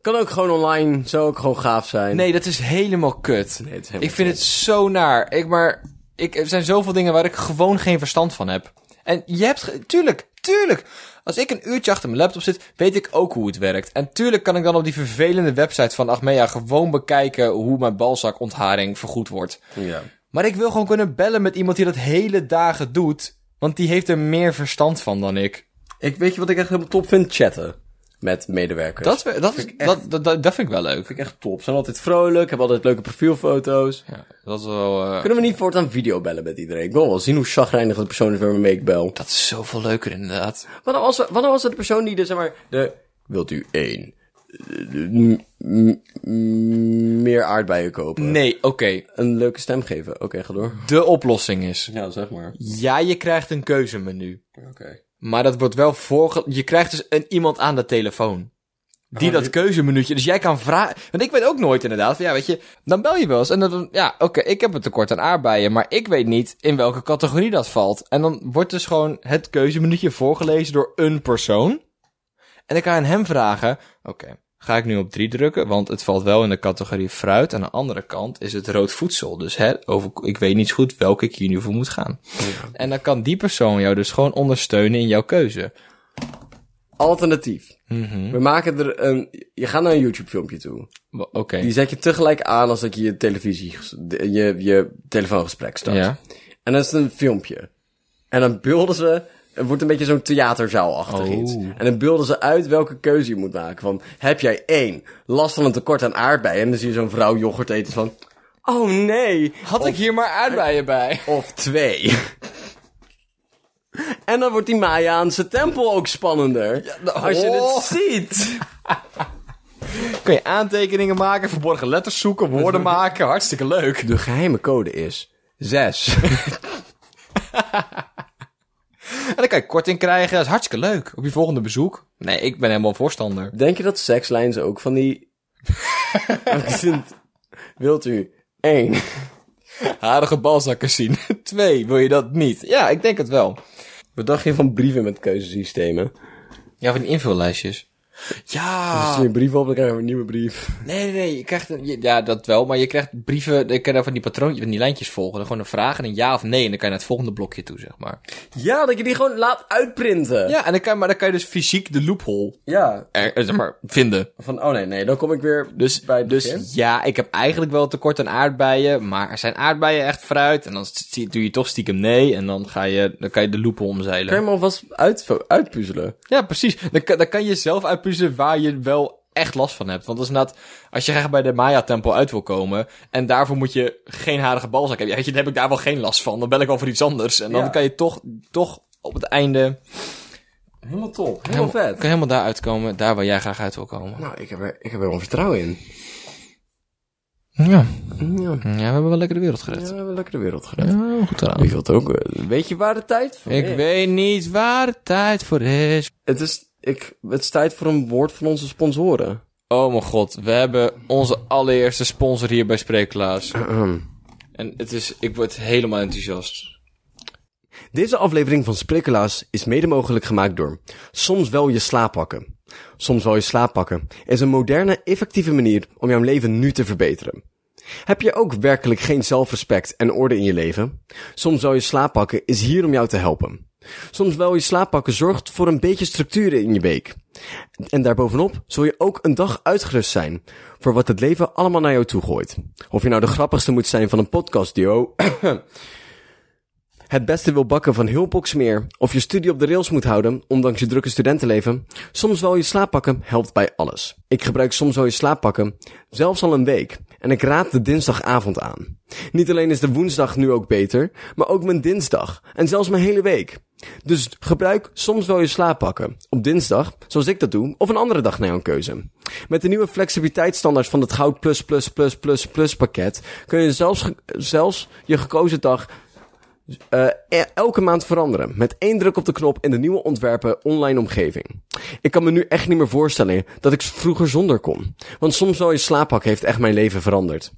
S1: Kan ook gewoon online, zou ook gewoon gaaf zijn.
S2: Nee, dat is helemaal kut.
S1: Nee, het is helemaal
S2: ik vind het zo naar. Ik, maar ik, er zijn zoveel dingen waar ik gewoon geen verstand van heb. En je hebt... ge- Tuurlijk, tuurlijk. Als ik een uurtje achter mijn laptop zit, weet ik ook hoe het werkt. En tuurlijk kan ik dan op die vervelende website van Achmea gewoon bekijken hoe mijn balzakontharing vergoed wordt.
S1: Ja.
S2: Maar ik wil gewoon kunnen bellen met iemand die dat hele dagen doet. Want die heeft er meer verstand van dan ik.
S1: Ik weet je wat ik echt helemaal top vind? Chatten met medewerkers.
S2: Dat, we- dat, is- dat, dat, dat, dat vind ik wel leuk.
S1: vind ik echt top. Ze zijn altijd vrolijk, hebben altijd leuke profielfoto's.
S2: Ja, dat is wel... eh,
S1: Kunnen we niet voortaan videobellen met iedereen? Ik wil wel zien hoe chagrijnig de persoon is waarmee ik bel.
S2: dat is zoveel leuker inderdaad.
S1: Wat nou als, we- wat nou als het de persoon die de, zeg maar, de... Wilt u één eh, m- m- meer aardbeien
S3: Mm.
S1: kopen.
S2: Nee, oké.
S1: Een leuke stem geven. Oké, ga door.
S2: De oplossing is...
S3: Ja, zeg maar.
S2: Ja, je krijgt een keuzemenu.
S3: Oké.
S2: Maar dat wordt wel voorge... Je krijgt dus een, iemand aan de telefoon. Die
S3: Ah,
S2: dat
S3: die-
S2: keuzemenuutje... Dus jij kan vragen... Want ik weet ook nooit inderdaad... van, ja, weet je... Dan bel je wel eens en dan... Ja, oké, ik heb een tekort aan aardbeien... Maar ik weet niet in welke categorie dat valt. En dan wordt dus gewoon het keuzemenuutje voorgelezen door een persoon. En ik kan aan hem vragen... Oké, ga ik nu op drie drukken? Want het valt wel in de categorie fruit. Aan de andere kant is het rood voedsel. Dus hè, over, ik weet niet zo goed welke ik hier nu voor moet gaan. En dan kan die persoon jou dus gewoon ondersteunen in jouw keuze.
S1: Alternatief.
S2: Mhm.
S1: We maken er een... Je gaat naar een YouTube filmpje toe.
S2: Wa- Oké.
S1: Die zet je tegelijk aan als dat je je televisie... ges- de- Je, je telefoongesprek start.
S2: Ja.
S1: En dat is een filmpje. En dan beelden ze... Het wordt een beetje zo'n theaterzaalachtig
S2: Oh.
S1: iets. En dan beelden ze uit welke keuze je moet maken. Van, heb jij één, last van een tekort aan aardbeien? En dan zie je zo'n vrouw yoghurt eten van... Oh nee!
S2: Had ik hier maar aardbeien bij?
S1: Of twee. en dan wordt die Mayaanse tempel ook spannender. als je
S2: oh.
S1: dit ziet.
S2: Kun je aantekeningen maken, verborgen letters zoeken, woorden maken. Hartstikke leuk.
S1: De geheime code is... Zes.
S2: En dan kan je korting krijgen. Dat is hartstikke leuk. Op je volgende bezoek. Nee, ik ben helemaal voorstander.
S1: Denk je dat sekslijns ook van die... Vind- Wilt u één?
S2: Harige balzakken zien. Twee, wil je dat niet? Ja, ik denk het wel.
S1: Wat dacht je van brieven met keuzesystemen?
S2: Ja, van die invullijstjes. Ja.
S1: Als je een brief op, dan krijg je een nieuwe brief.
S2: Nee, nee, nee. Je krijgt een, je- ja, dat wel. Maar je krijgt brieven. Ik kan daar van die patroontjes, van die lijntjes volgen. Dan gewoon een vraag en een ja of nee. En dan kan je naar het volgende blokje toe, zeg maar.
S1: Ja, dat je die gewoon laat uitprinten.
S2: Ja, en dan kan, maar dan kan je dus fysiek de loophole
S1: Ja.
S2: er, eh, zeg maar, vinden.
S1: Van, oh nee, nee, dan kom ik weer
S2: Dus,
S1: bij het begin.
S2: dus ja, ik heb eigenlijk wel tekort aan aardbeien. Maar er zijn aardbeien echt fruit. En dan st- doe je toch stiekem nee. En dan, ga je, dan kan je de loophole
S1: Kan je
S2: omzeilen.
S1: hem alvast uit, uitpuzzelen?
S2: Ja, precies. Dan, kan- dan kan je zelf uitpuzzelen waar je wel echt last van hebt. Want dat is inderdaad, als je graag bij de Maya-tempel uit wil komen... en daarvoor moet je geen harige balzak hebben. Ja, weet je, dan heb ik daar wel geen last van. Dan bel ik wel voor iets anders. En dan
S1: Ja.
S2: kan je toch, toch op het einde...
S1: Helemaal top. Helemaal,
S2: helemaal-
S1: vet.
S2: Kan je helemaal daar uitkomen, daar waar jij graag uit wil komen.
S1: Nou, ik heb, er, ik heb er wel vertrouwen in.
S2: Ja.
S1: Ja,
S2: Ja, we hebben wel lekker de wereld
S1: we
S2: gered.
S1: hebben lekker de wereld
S2: Ja,
S1: gered.
S2: goed gedaan.
S1: Ik wil het ook. eh, Weet je waar de tijd voor
S2: Ik
S1: is?
S2: weet niet waar de tijd voor is.
S1: Het is, ik, het is tijd voor een woord van onze sponsoren.
S2: Oh mijn god, we hebben onze allereerste sponsor hier bij Spreeklaas.
S1: Ehm,
S2: En het is, ik word helemaal enthousiast.
S1: Deze aflevering van Sprikkelaars is mede mogelijk gemaakt door Soms wel je slaap pakken. Soms wel je slaap pakken is een moderne, effectieve manier om jouw leven nu te verbeteren. Heb je ook werkelijk geen zelfrespect en orde in je leven? Soms wel je slaap pakken is hier om jou te helpen. Soms wel je slaap pakken zorgt voor een beetje structuur in je week. En daarbovenop zul je ook een dag uitgerust zijn voor wat het leven allemaal naar jou toe gooit. Of je nou de grappigste moet zijn van een podcastduo, het beste wil bakken van Hulpox meer, of je studie op de rails moet houden, ondanks je drukke studentenleven, soms wel je slaappakken helpt bij alles. Ik gebruik soms wel je slaappakken, zelfs al een week, en ik raad de dinsdagavond aan. Niet alleen is de woensdag nu ook beter, maar ook mijn dinsdag, en zelfs mijn hele week. Dus gebruik soms wel je slaappakken. Op dinsdag, zoals ik dat doe, of een andere dag naar jouw keuze. Met de nieuwe flexibiliteitsstandaard van het Goud Plus Plus Plus Plus Plus pakket kun je zelfs, ge- zelfs je gekozen dag eh, e- elke maand veranderen. Met één druk op de knop in de nieuwe ontwerpen online omgeving. Ik kan me nu echt niet meer voorstellen dat ik vroeger zonder kon. Want soms wel je slaappak heeft echt mijn leven veranderd.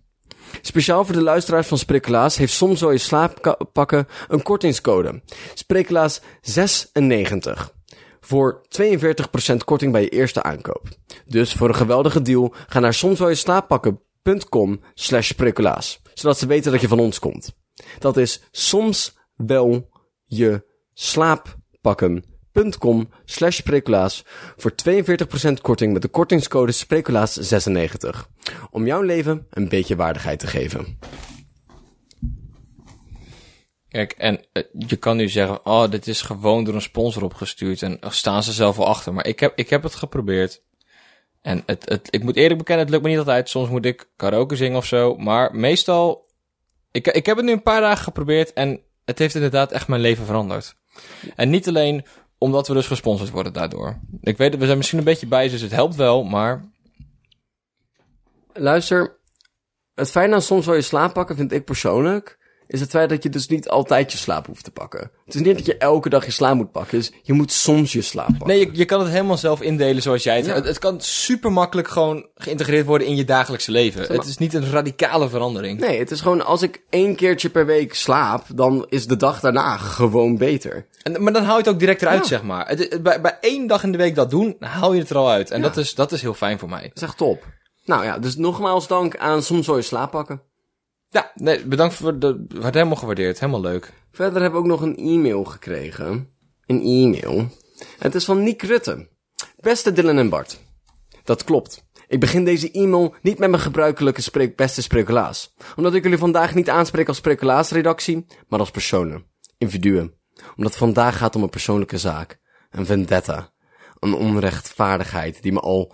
S1: Speciaal voor de luisteraars van Sprikkelaas heeft soms wel je slaappakken een kortingscode. Sprikkelaas 96. Voor 42% korting bij je eerste aankoop. Dus voor een geweldige deal ga naar somsweljeslaappakken.com slash Sprikkelaas. Zodat ze weten dat je van ons komt. Dat is soms wel je slaappakken.com slash Sprekulaas voor 42% korting met de kortingscode Sprekulaas96. Om jouw leven een beetje waardigheid te geven.
S2: Kijk, en eh, je kan nu zeggen, oh, dit is gewoon door een sponsor opgestuurd en er staan ze zelf wel achter. Maar ik heb, ik heb het geprobeerd. En het, het, ik moet eerlijk bekennen, het lukt me niet altijd. Soms moet ik karaoke zingen of zo. Maar meestal, ik, ik heb het nu een paar dagen geprobeerd en het heeft inderdaad echt mijn leven veranderd. En niet alleen omdat we dus gesponsord worden daardoor. Ik weet, dat we zijn misschien een beetje bij, dus het helpt wel, maar
S1: luister, het fijne aan soms wel je slaap pakken, vind ik persoonlijk, is het feit dat je dus niet altijd je slaap hoeft te pakken. Het is niet dat je elke dag je slaap moet pakken, dus je moet soms je slaap pakken.
S2: Nee, je, je kan het helemaal zelf indelen zoals jij het...
S1: Ja.
S2: Het, het kan super makkelijk gewoon geïntegreerd worden in je dagelijkse leven. Het is niet een radicale verandering.
S1: Nee, het is gewoon als ik één keertje per week slaap, dan is de dag daarna gewoon beter.
S2: En, maar dan haal je het ook direct eruit,
S1: Ja.
S2: zeg maar. Het, het- bij, bij één dag in de week dat doen, dan haal je het er al uit. En dat, is, dat is heel fijn voor mij.
S1: Dat is echt top. Nou ja, dus nogmaals dank aan soms wel je slaap pakken.
S2: Ja, nee, bedankt voor de... Werd helemaal gewaardeerd. Helemaal leuk.
S1: Verder hebben we ook nog een e-mail gekregen. Een e-mail. Het is van Nick Rutte. Beste Dylan en Bart. Dat klopt. Ik begin deze e-mail niet met mijn gebruikelijke spreek beste sprekulaas. Omdat ik jullie vandaag niet aanspreek als sprekulaasredactie, maar als personen. Individuen. Omdat het vandaag gaat om een persoonlijke zaak. Een vendetta. Een onrechtvaardigheid die me al,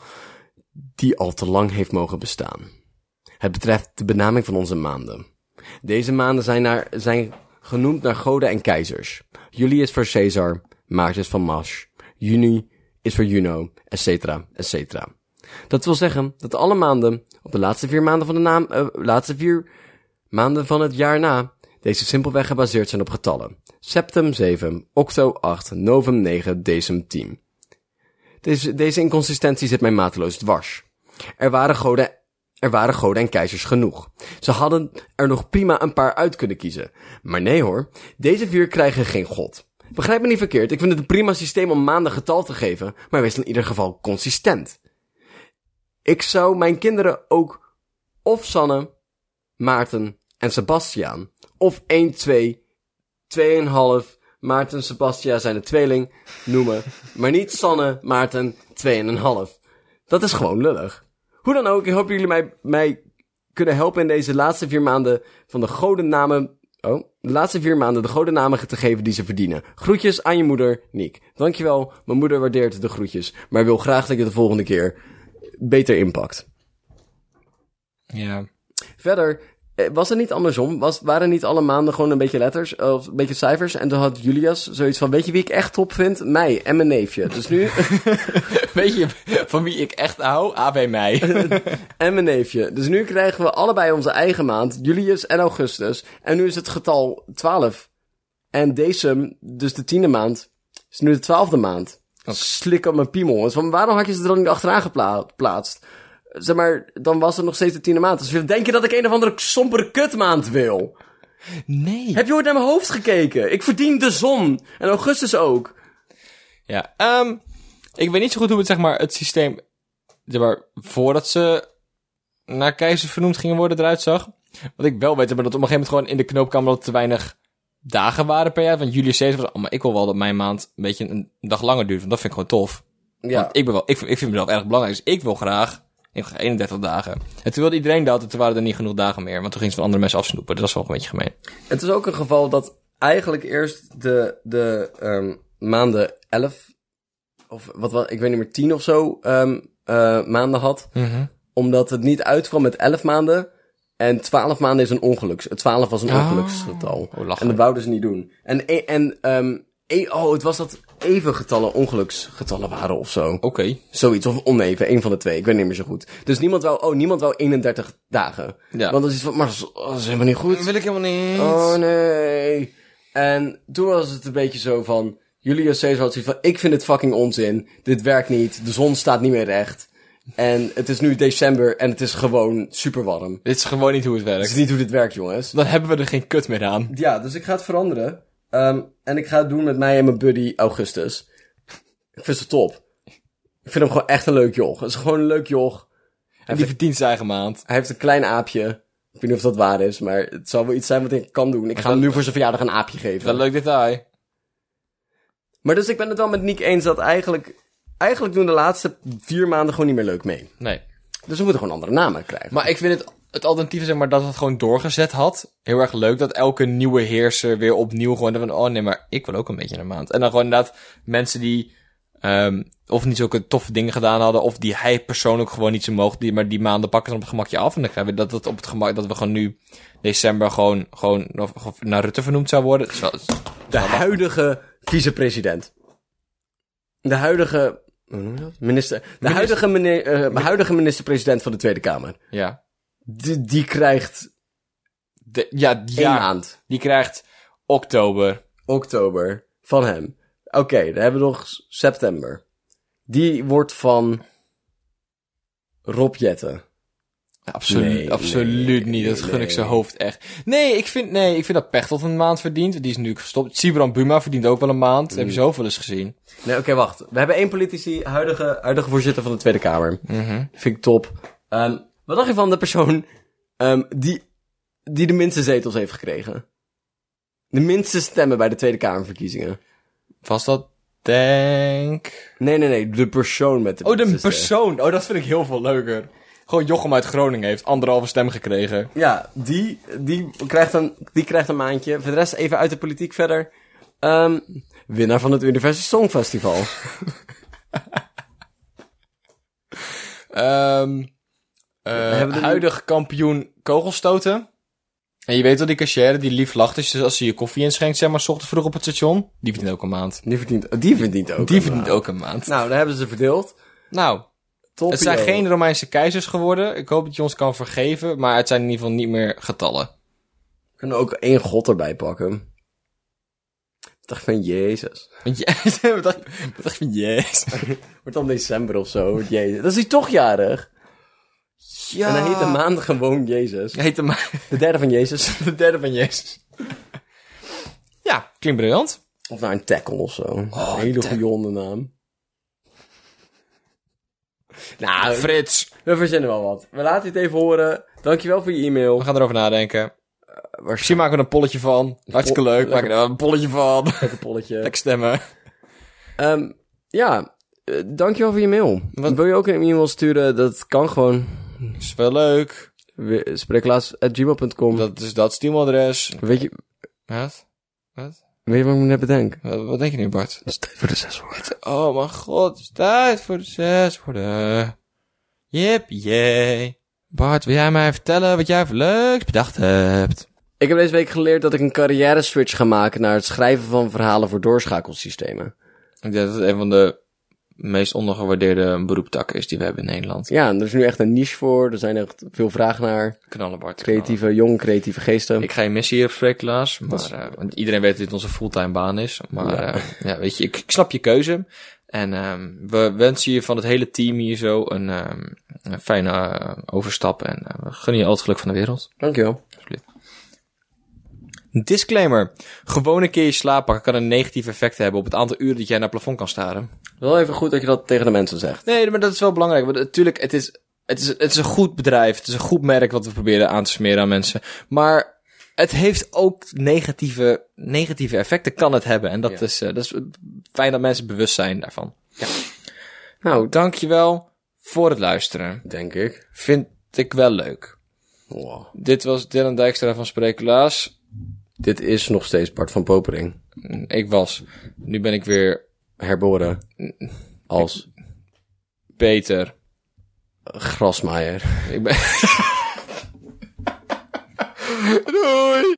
S1: die al te lang heeft mogen bestaan. Het betreft de benaming van onze maanden. Deze maanden zijn, naar, zijn genoemd naar goden en keizers. Juli is voor Caesar, maart is van Mars, juni is voor Juno, et cetera, et cetera. Dat wil zeggen dat alle maanden, op de laatste vier maanden van de naam, eh, laatste vier maanden van het jaar na, deze simpelweg gebaseerd zijn op getallen. Septem 7, octo 8, novem 9, decem 10. Deze, deze inconsistentie zit mij mateloos dwars. Er waren goden, er waren goden en keizers genoeg. Ze hadden er nog prima een paar uit kunnen kiezen. Maar nee hoor, deze vier krijgen geen god. Begrijp me niet verkeerd, ik vind het een prima systeem om maanden getal te geven, maar wees in ieder geval consistent. Ik zou mijn kinderen ook of Sanne, Maarten en Sebastiaan, of 1, 2, 2,5, Maarten en Sebastiaan zijn een tweeling, noemen, maar niet Sanne, Maarten, 2,5. Dat is gewoon lullig. Hoe dan ook, ik hoop dat jullie mij, mij kunnen helpen in deze laatste vier maanden van de godennamen... Oh, de laatste vier maanden de godennamen te geven die ze verdienen. Groetjes aan je moeder, Niek. Dankjewel, mijn moeder waardeert de groetjes, maar wil graag dat je de volgende keer beter inpakt.
S2: Ja.
S1: Verder, eh, was het niet andersom? Was, waren niet alle maanden gewoon een beetje letters, eh, of een beetje cijfers? En toen had Julius zoiets van, weet je wie ik echt top vind? Mij en mijn neefje. Dus nu,
S2: Weet je van wie ik echt hou? AB mij.
S1: en mijn neefje. Dus nu krijgen we allebei onze eigen maand, Julius en Augustus. En nu is het getal 12. En decem, dus de tiende maand, is nu de twaalfde maand. Slik op mijn piemel. Dus van, waarom had je ze er dan niet achteraan gepla- geplaatst? Zeg maar, dan was het nog steeds de tiende maand. Dus denk je dat ik een of andere sombere kutmaand wil?
S2: Nee.
S1: Heb je ooit naar mijn hoofd gekeken? Ik verdien de zon. En augustus ook.
S2: Ja, ehm, ik weet niet zo goed hoe het, zeg maar, het systeem, zeg maar, voordat ze naar keizer vernoemd gingen worden eruit zag. Wat ik wel weet, maar dat op een gegeven moment gewoon in de knoop kwam dat er te weinig dagen waren per jaar. Want Julius Caesar was, oh, maar ik wil wel dat mijn maand een beetje een dag langer duurt, want dat vind ik gewoon tof.
S1: Ja.
S2: Want ik, ben wel, ik, vind- ik vind mezelf erg belangrijk, dus ik wil graag ik wil graag 31 dagen. En toen wilde iedereen dat, en toen waren er niet genoeg dagen meer. Want toen gingen ze van andere mensen afsnoepen, dus dat is wel een beetje gemeen.
S1: Het is ook een geval dat eigenlijk eerst de, de ehm, maanden 11, of wat, was ik weet niet meer, 10 of zo ehm, eh, maanden had.
S2: Mhm.
S1: Omdat het niet uitkwam met 11 maanden. En 12 maanden is een ongeluks. 12 was een ongeluksgetal.
S2: Ah. oh, lachen.
S1: en dat wouden ze niet doen. En, e- en ehm, e- oh, het was dat even getallen ongeluksgetallen waren of zo.
S2: Oké.
S1: Zoiets, of oneven, een van de twee, ik weet niet meer zo goed. Dus niemand wou, oh, niemand wou 31 dagen.
S2: Ja.
S1: Want dat is iets van, maar dat is, oh, dat is helemaal niet goed.
S2: wil ik helemaal niet.
S1: Oh nee. En toen was het een beetje zo van, Julius Caesar had zoiets van, ik vind het fucking onzin, dit werkt niet, de zon staat niet meer recht. En het is nu december en het is gewoon super warm.
S2: Dit is gewoon niet hoe het
S1: Dat
S2: werkt.
S1: is niet hoe dit werkt, jongens.
S2: Dan hebben we er geen kut meer aan.
S1: Ja, dus ik ga het veranderen. Ehm, en ik ga het doen met mij en mijn buddy Augustus. Ik vind ze top. Ik vind hem gewoon echt een leuk joch. Het is gewoon een leuk joch.
S2: En die verdient zijn eigen maand.
S1: Hij heeft een klein aapje. Ik weet niet of dat waar is, maar het zal wel iets zijn wat ik kan doen. Ik ga hem nu voor zijn verjaardag een aapje
S2: Wel
S1: geven.
S2: leuk detail.
S1: Maar dus ik ben het wel met Nick eens dat eigenlijk... Eigenlijk doen de laatste vier maanden gewoon niet meer leuk mee.
S2: Nee.
S1: Dus we moeten gewoon andere namen krijgen.
S2: Maar ik vind het, het alternatief, zeg maar, dat het gewoon doorgezet had. Heel erg leuk dat elke nieuwe heerser weer opnieuw gewoon van, oh nee, maar ik wil ook een beetje een maand. En dan gewoon inderdaad mensen die, ehm, of niet zulke toffe dingen gedaan hadden, of die hij persoonlijk gewoon niet zo mocht, die, maar die maanden pakken dan op het gemakje af. En dan krijgen we dat, dat op het gemak, dat we gewoon nu december gewoon, gewoon of- of naar Rutte vernoemd zou worden. Het is wel-
S1: de huidige vicepresident. De huidige hoe noem je dat? Minister, de huidige, meneer, eh, de huidige minister-president van de Tweede Kamer.
S2: Ja.
S1: Die, die krijgt
S2: De, ja,
S1: één
S2: ja.
S1: maand.
S2: Die krijgt oktober.
S1: Oktober. Van hem. Oké, dan hebben we nog s- september. Die wordt van Rob Jetten.
S2: Ja, absoluut,
S1: Nee,
S2: absoluut
S1: nee,
S2: niet. Dat gun ik
S1: nee.
S2: zijn hoofd echt. Nee, ik vind, nee, ik vind dat Pecht tot een maand verdient. Die is nu gestopt. Sibran Buma verdient ook wel een maand. Heb je zoveel eens gezien.
S1: Nee, oké, wacht. We hebben één politici, huidige, huidige voorzitter van de Tweede Kamer.
S2: Mhm.
S1: Vind ik top. Ehm, wat dacht je van de persoon ehm, die, die de minste zetels heeft gekregen? De minste stemmen bij de Tweede Kamerverkiezingen.
S2: Was dat, denk...
S1: Nee, nee, nee. De persoon met de
S2: Oh, de
S1: minste stemmen.
S2: persoon. Oh, dat vind ik heel veel leuker. Gewoon Jochem uit Groningen heeft anderhalve stem gekregen.
S1: Ja, die, die, krijgt een, die krijgt een maandje. Voor de rest even uit de politiek verder. Ehm, winnaar van het Universal Songfestival.
S2: Ehm eh,
S1: hebben er nu-
S2: huidig kampioen kogelstoten. En je weet wel, die cashier die lief lacht is dus als ze je koffie inschenkt, zeg maar, 's ochtends vroeg op het station. Die verdient ook een maand.
S1: Die verdient, die verdient ook.
S2: Die
S1: een
S2: verdient
S1: maand.
S2: ook een maand.
S1: Nou, daar hebben ze verdeeld.
S2: Nou,
S1: Top.
S2: het zijn
S1: joh.
S2: geen Romeinse keizers geworden. Ik hoop dat je ons kan vergeven, maar het zijn in ieder geval niet meer getallen.
S1: We kunnen ook één god erbij pakken. Ik dacht van, jezus.
S2: Want je- wat dacht- wat dacht je? Yes.
S1: Wordt dan december of zo, wordt jezus. Dat is hij toch jarig.
S2: Ja.
S1: En hij heet de maand gewoon Jezus.
S2: Heet de maand.
S1: De derde van Jezus.
S2: De derde van Jezus. Ja, klinkt briljant.
S1: Of naar een tackle of zo. een hele
S2: Oh, tackle.
S1: goede hondennaam.
S2: Nou, Frits.
S1: We verzinnen wel wat. We laten het even horen. Dankjewel voor je e-mail.
S2: We gaan erover nadenken. Misschien maken we er een polletje van. Hartstikke
S1: Po-
S2: leuk. Maak er een polletje van.
S1: Lekker polletje.
S2: Lekker stemmen.
S1: Ehm, ja, Eh, dankjewel voor je mail.
S2: Wat-
S1: Wil je ook een e-mail sturen? Dat kan gewoon.
S2: Is wel leuk.
S1: We- Spreeklaas.gmail.com.
S2: Dat is dat steamadres.
S1: Weet, je,
S2: Wat?
S1: weet je wat ik me net bedenk?
S2: Wat, wat denk je nu, Bart?
S1: Dat is tijd voor de zes woorden.
S2: Oh mijn god, het is tijd voor de zes woorden. Jip, jee. Bart, wil jij mij vertellen wat jij voor leuks bedacht hebt?
S1: Ik heb deze week geleerd dat ik een carrière switch ga maken naar het schrijven van verhalen voor doorschakelsystemen.
S2: Ik denk dat het een van de meest ondergewaardeerde beroeptakken is die we hebben in Nederland.
S1: Ja, en er is nu echt een niche voor. Er zijn echt veel vraag naar.
S2: Knallen, Bart.
S1: Creatieve, jong creatieve geesten.
S2: Ik ga je missen hier op Spreeklaas. Maar, eh, want iedereen weet dat dit onze fulltime baan is. Maar
S1: Ja.
S2: ja, ja weet je, ik, ik snap je keuze. En ehm, we wensen je van het hele team hier zo een, ehm, een fijne eh, overstap. En eh, we gunnen je al het geluk van de wereld.
S1: Dankjewel.
S2: Disclaimer. Gewoon een keer je slaap pakken kan een negatief effect hebben op het aantal uren dat jij naar het plafond kan staren.
S1: Wel even goed dat je dat tegen de mensen zegt.
S2: Nee, maar dat is wel belangrijk. Want natuurlijk, het is, het, is, het is een goed bedrijf. Het is een goed merk wat we proberen aan te smeren aan mensen. Maar het heeft ook negatieve, negatieve effecten, kan het hebben. En dat,
S1: Ja.
S2: is, eh, dat is fijn dat mensen bewust zijn daarvan.
S1: Nou,
S2: Dankjewel voor het luisteren.
S1: denk ik.
S2: Vind ik wel leuk.
S1: Wow.
S2: Dit was Dylan Dijkstra van Sprekelaars.
S1: Dit is nog steeds Bart van Popering.
S2: Ik was. Nu ben ik weer
S1: Herboren. Als
S2: beter.
S1: grasmaaier.
S2: Ik ben... Doei!